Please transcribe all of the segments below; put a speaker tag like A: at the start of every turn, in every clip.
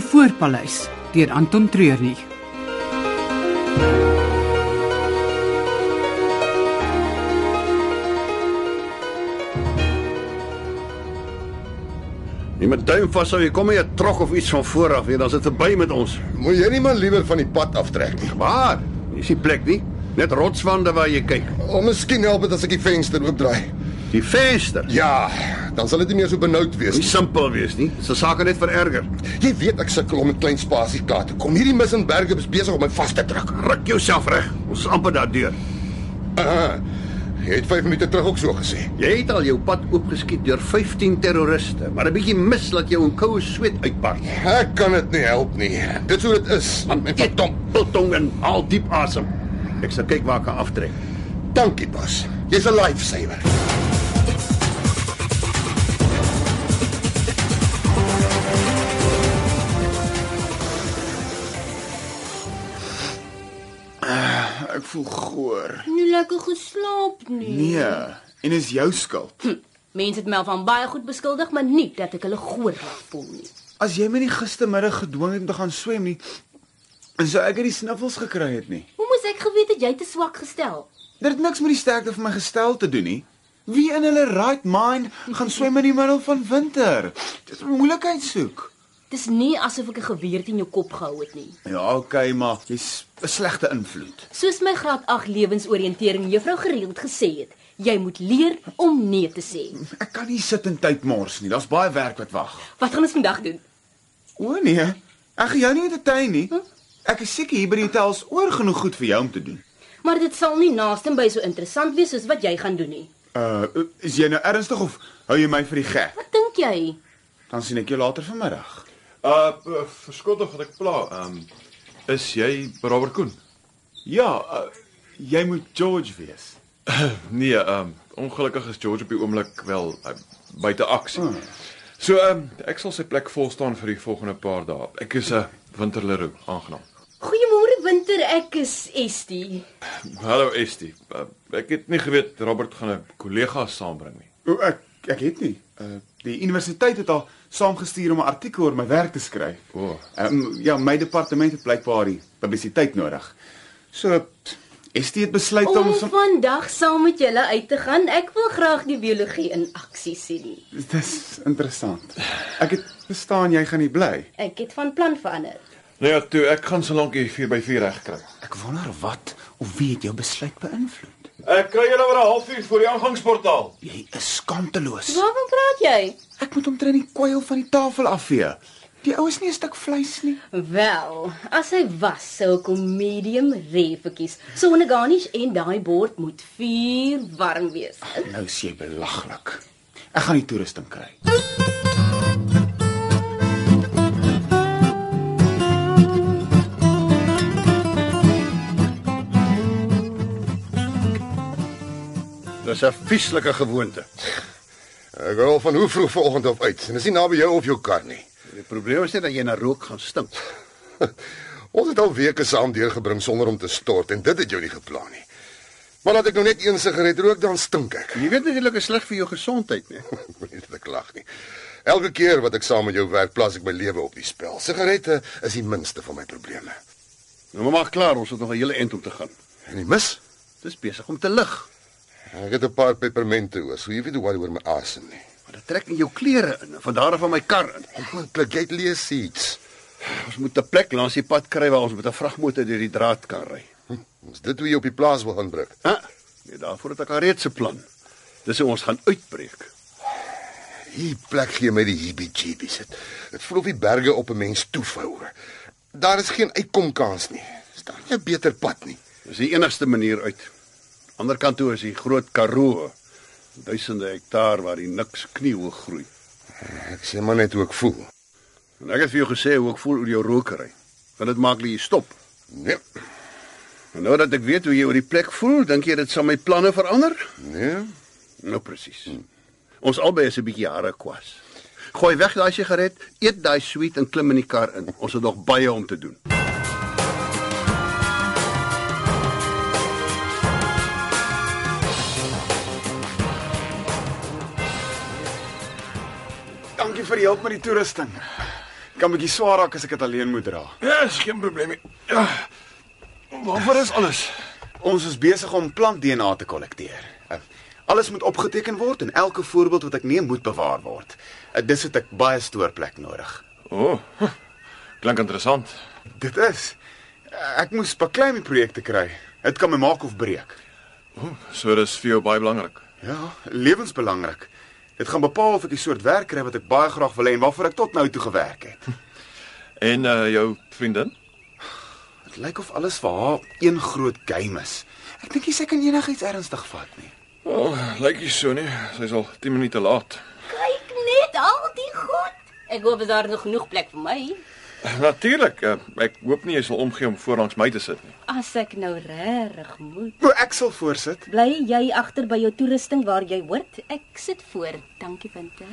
A: Spoorpaleis deur Anton Treurnig.
B: Jy moet duim vashou, jy kom nie 'n trok of iets van voor af nie, dan is dit verby met ons.
C: Moet jy nie maar liewer van die pad aftrek nie.
B: Waar? Dis die plek nie. Net rotswande waar jy kyk.
C: Of Oh, miskien help dit as ek die venster oopdraai.
B: Die venster.
C: Ja, dan sal dit nie meer so benoud wees
B: Nie
C: nie.
B: simpel wees nie. Dis 'n saak net vererger.
C: Jy weet ek sukkel om 'n klein spasie klaar te kom. Hierdie mis en berge is besig om my vas te druk.
B: Ruk jouself reg. Ons is amper daardeur.
C: Aha. Jy het 5 minute terug ook so gesê.
B: Jy het al jou pad oopgeskiet deur 15 terroriste, maar 'n bietjie mis laat jou in koue sweet uitbar.
C: Ek kan dit nie help nie. Dit is hoe dit is. En verdomp,
B: biltong en haal diep asem. Ek sal kyk waar ek kan aftrek.
C: dankie Bas. Jy's 'n lifesaver.
D: Ek voel goor.
E: Nie lekker geslaap nie.
D: Nee, en is jou skuld.
E: Mense het my al van baie goed beskuldig, maar nie dat ek hulle goor laat voel nie.
D: As jy my nie gistermiddag gedwing het om te gaan swem nie, en sou ek uit die sniffels gekry het nie.
E: Hoe moes ek geweet het jy te swak gestel?
D: Dit het niks met die sterkte van my gestel te doen nie. Wie in hulle right mind gaan swem in die middel van winter? Dit is moeilikheid soek.
E: Dis nie asof ek 'n geweer teen jou kop gehou het nie.
D: Ja, okay, maar jy's 'n slegte invloed.
E: Soos my graad 8 lewensoriëntering juffrou gereeld gesê het, jy moet leer om nee te sê.
D: Ek kan nie sit en tyd mors nie. Daar's baie werk wat wag.
E: Wat gaan ons vandag doen?
D: O nee, ek gaan jou nie entertain nie. Ek is seker hier by die hotels oor genoeg goed vir jou om te doen.
E: Maar dit sal nie naaste by so interessant wees soos wat jy gaan doen nie.
D: Uh, is jy nou ernstig of hou jy my vir die gek?
E: Wat dink jy?
D: Dan sien ek jou later vanmiddag.
F: Uh p- verskot tog dat ek pla. Ehm um, is jy Robert Koen?
D: Ja, uh, jy moet George wees.
F: Nee, ehm um, ongelukkig is George op die oomblik wel uh, buite aksie. So ehm um, ek sal sy plek vol staan vir die volgende paar dae. Ek is 'n uh, winterleroe aangenaam.
E: Goeiemôre winter, ek is Estie.
F: Hallo Estie. Uh, ek het nie geweet Robert gaan 'n kollega saambring nie.
D: O ek ek het nie. Uh, die universiteit het al saamgestuur om 'n artikel oor my werk te skryf.
F: O.
D: Um, ja, my departement het blykbaar die publisiteit nodig. So ST het besluit om,
E: Om
D: om som,
E: vandag saam met julle uit te gaan. Ek wil graag die biologie in aksie sien.
D: dis interessant. Ek het verstaan jy gaan nie bly.
E: Ek het van plan verander.
F: Nou ja, toe ek gaan so lank hier 4 by 4 reg kry.
D: Ek wonder wat of wie het jou besluit beïnvloed.
F: Ek kry julle oor 'n halfuur voor die ingangsportaal.
D: Jy is skamteloos.
E: Waarvan praat jy?
D: Ek moet omtrent die kwyl van die tafel afvee. Die ou is nie 'n stuk vleis nie.
E: Wel, as hy was sou ek hom medium rare verkies. Sonder garnish en daai bord moet vuur warm wees.
D: Nou is jy belaglik. Ek gaan die toerusting kry.
B: Dis 'n vieslike gewoonte.
C: Ek rol van hoe vroeg vanoggend af uit. En dis nie naby jou of jou kar nie.
B: Die probleem is net dat jy na rook gaan stink.
C: Ons het al weke saam deurgebring sonder om te stort en dit het jou nie geplan nie. Maar laat ek nou net een sigaret rook dan stink ek.
B: Jy weet natuurlik is sleg vir jou gesondheid, nee.
C: Moenie dit klag nie. Elke keer wat ek saam met jou werk, plaas ek my lewe op die spel. Sigarette is die minste van my probleme.
B: Nou maar maak klaar, ons het nog 'n hele end om te gaan.
C: En die mis?
B: Dis besig om te lig.
C: Ek het 'n paar pepermente oor, so jy weet hoe worry oor my asem nie.
B: Maar dit trek in jou klere in en van daar af van my kar in.
C: Onmoontlik, jy het lees iets.
B: Ons moet 'n plek langs die pad kry waar ons met 'n vragmotor deur die draad kan ry.
C: Is dit hoe jy op die plaas wil gaan druk?
B: Hæ? Nee, daarvoor het ek al reeds 'n plan. Dis hoe ons gaan uitbreek.
C: Hier plek gee my die heebie-jeebies. Dit- Dit voel of die berge op 'n mens toevou. Daar is geen uitkomkans nie. Is daar nie 'n beter pad nie?
B: Dis die enigste manier uit. Ander kant toe is die Groot Karoo. Duisende hektaar waar die niks kniehoog groei.
C: Ek sê maar net hoe ek voel.
B: En ek het vir jou gesê hoe ek voel oor jou rokery. Want dit maak dat jy stop.
C: Nee,
B: En nou dat ek weet hoe jy oor die plek voel, dink jy dit sal my planne verander?
C: nee.
B: Nou presies. Ons albei is 'n bietjie hare kwas. Gooi weg daai sigaret, eet daai sweet en klim in die kar in. Ons het nog baie om te doen.
D: Dankie vir die hulp met die toerusting. kan bietjie swaar raak as ek dit alleen moet dra.
G: Ja, is geen probleem nie. Ja. Waarvoor is alles?
D: Ons is besig om plant-DNA te kollekteer. Uh, Alles moet opgeteken word en elke voorbeeld wat ek neem moet bewaar word. Uh, Dis het ek baie stoorplek nodig.
F: O. Oh, klink interessant.
D: Dit is uh, ek moes baklei my projekte kry. Dit kan my maak of breek.
F: So dis vir jou baie belangrik.
D: Ja, lewensbelangrik. Dit gaan bepaal of ek die soort werk kry wat ek baie graag wil hê en waarvoor ek tot nou toe gewerk het.
F: En uh jou vriendin?
D: Dit lyk of alles vir haar een groot game is. Ek dink nie sy kan enigiets ernstig vat nie.
F: Wel, lyk nie so nie. Sy's al 10 minute laat.
E: Kyk net al die goed. Ek hoop daar is nog genoeg plek vir my.
F: Natuurlik. Uh, ek hoop nie jy sal omgee om voorlangs my te sit nie.
E: As ek nou regtig moet.
D: O, Nou, ek sal voorsit.
E: Bly jy agter by jou toerusting waar jy hoort? Ek sit voor. Dankie Winter.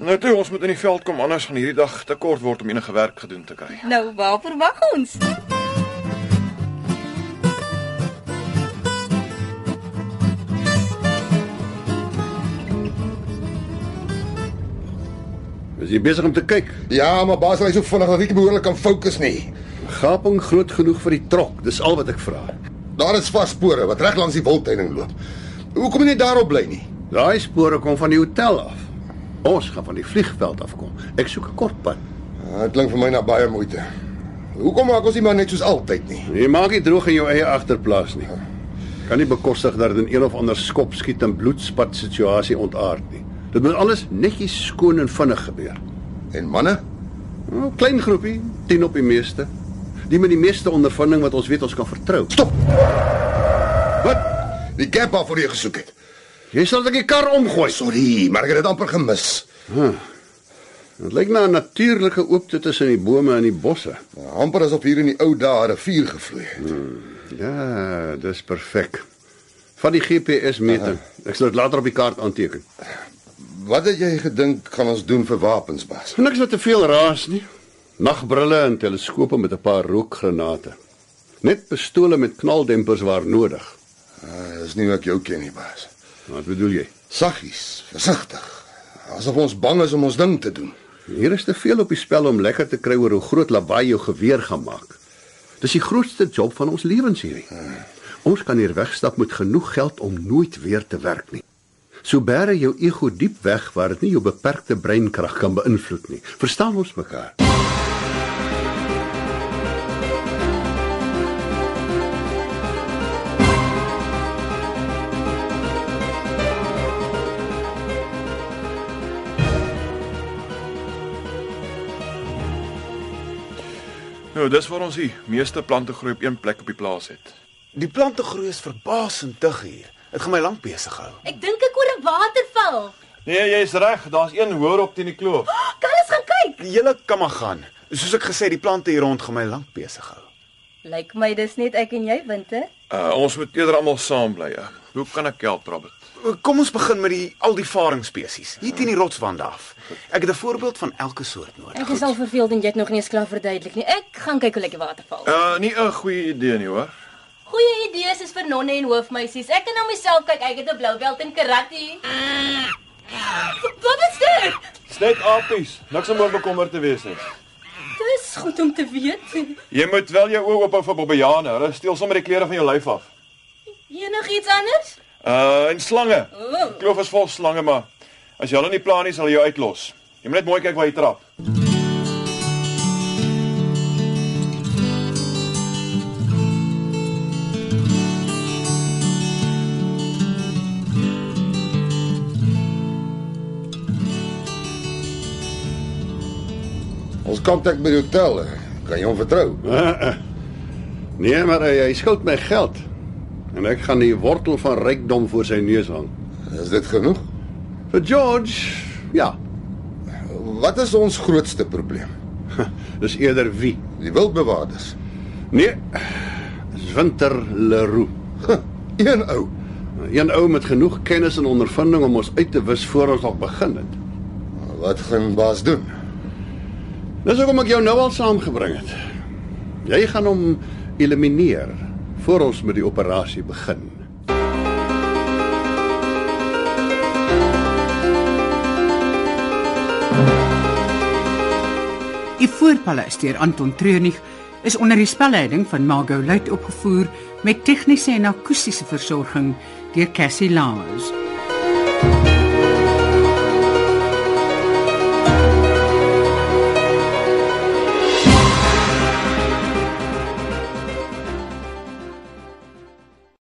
F: Nou toe, ons moet in die veld kom anders gaan hierdie dag te kort word om enige werk gedoen te kry.
E: Nou waar verwag ons?
B: Is jy besig om te kyk?
C: Ja, maar baas, hy is so vinnig dat ek nie behoorlik kan fokus nie.
B: Gaping groot genoeg vir die trok. Dis al wat ek vra.
C: Daar is vars spore wat reg langs die wildtuining loop. Hoekom jy net daarop bly nie?
B: Daai spore kom van die hotel af. Ons gaan van die vliegveld afkom. Ek soek 'n kort pad.
C: Ah, Dit klink vir my na baie moeite. Hoekom maak ons nie maar net soos altyd nie?
B: Jy maak nie droog in jou eie agterplaas nie. Kan nie bekostig dat dit in een of ander skop skiet en bloedspat situasie ontaard nie. Dit moet alles netjies skoon en vinnig gebeur.
C: En manne,
B: 'n Klein groepie, 10 op die meeste. Die met die meeste ondervinding wat ons weet ons kan vertrou.
C: stop.
B: Wat?
C: Die gap waarvoor jy gesoek het.
B: Jy sal dit die kar omgooi.
C: Sorry, maar ek het dit amper gemis.
B: Dit lyk na 'n natuurlike oopte tussen die bome en die bosse.
C: Nou, Amper asof hier in die ou dae 'n rivier gevloei het.
B: Ja, dis perfek. Van die GPS-meting. Ek sal dit later op die kaart aanteken.
C: Wat het jy gedink gaan ons doen vir wapens, baas?
B: Niks wat te veel raas nie. Nagbrille en teleskope met 'n paar rookgranate. Net pistole met knaldempers waar nodig.
C: Uh, dis nie hoe ek jou ken nie, baas.
B: Wat bedoel jy?
C: Saggies, versigtig. Asof ons bang is om ons ding te doen.
B: Hier is te veel op die spel om lekker te kry oor hoe groot lawaai jou geweer gaan maak. Dis die grootste job van ons lewens hierdie. Ons kan hier wegstap met genoeg geld om nooit weer te werk nie. So bære jou ego diep weg waar dit nie jou beperkte breinkrag kan beïnvloed nie. Verstaan ons mekaar?
F: Nou, dis waar ons die meeste plante groei op een plek op die plaas het.
D: Die plante groei is verbaasend dig hier. Dit gaan my lank besig hou.
E: Ek dink ek hoor 'n waterval.
F: Nee, jy's reg. Daar's een hoër op teen die kloof.
E: Kan ons gaan kyk?
D: Die hele kan maar gaan. Soos ek gesê, die plante hier rond gaan my lank besig hou.
E: Lyk my dis net ek en jy Winter.
F: Uh, ons moet eerder almal saam bly. Uh. Hoe kan ek help, Robert?
D: Kom ons begin met die al die varingspesies. Hier teen die rotswand af. Ek het 'n voorbeeld van elke soort nodig.
E: Ek is al verveeld en jy het nog nie eens klaar verduidelik nie. Ek gaan kyk hoe lyk die waterval.
F: Uh, nie 'n goeie idee nie, hoor.
E: Goeie idees is vir nonne en hoofmeisies. Ek kan na myself kyk. Ek het 'n blou belt in karate. Wat is dit?
F: Net apies. Niks om oor bekommerd te wees nie.
E: Dis goed om te weet.
F: Jy moet wel jou oë oop hou vir bobbejane. Hulle steel sommer die klere van jou lyf af.
E: Enigiets anders?
F: Uh, en slange.
E: O.
F: Die Kloof is vol slange, maar as jy hulle nie plan nie, sal hulle jou uitlos. Jy moet net mooi kyk waar jy trap.
C: Ons kontak by die hotel. eh, Kan jy hom vertrou?
B: Nee, maar hy, hy skuld my geld. En ek gaan die wortel van rykdom voor sy neus hang.
C: Is dit genoeg?
B: Vir George, ja,
C: Wat is ons grootste probleem?
B: dis eerder wie.
C: Die wildbewaarders.
B: Nee, dis Winter Leroux.
C: Huh, Een ou.
B: Een ou met genoeg kennis en ondervinding om ons uit te wis voor ons nog begin het.
C: Wat gaan baas doen?
B: Dis hoekom ek jou nou al saamgebring het. Jy gaan hom elimineer voor ons met die operasie begin.
A: Die Voorpaleis deur Anton Treurnig is onder die spelleiding van Margot Luit opgevoer met tegniese en akoestiese versorging deur Cassie Lawrence.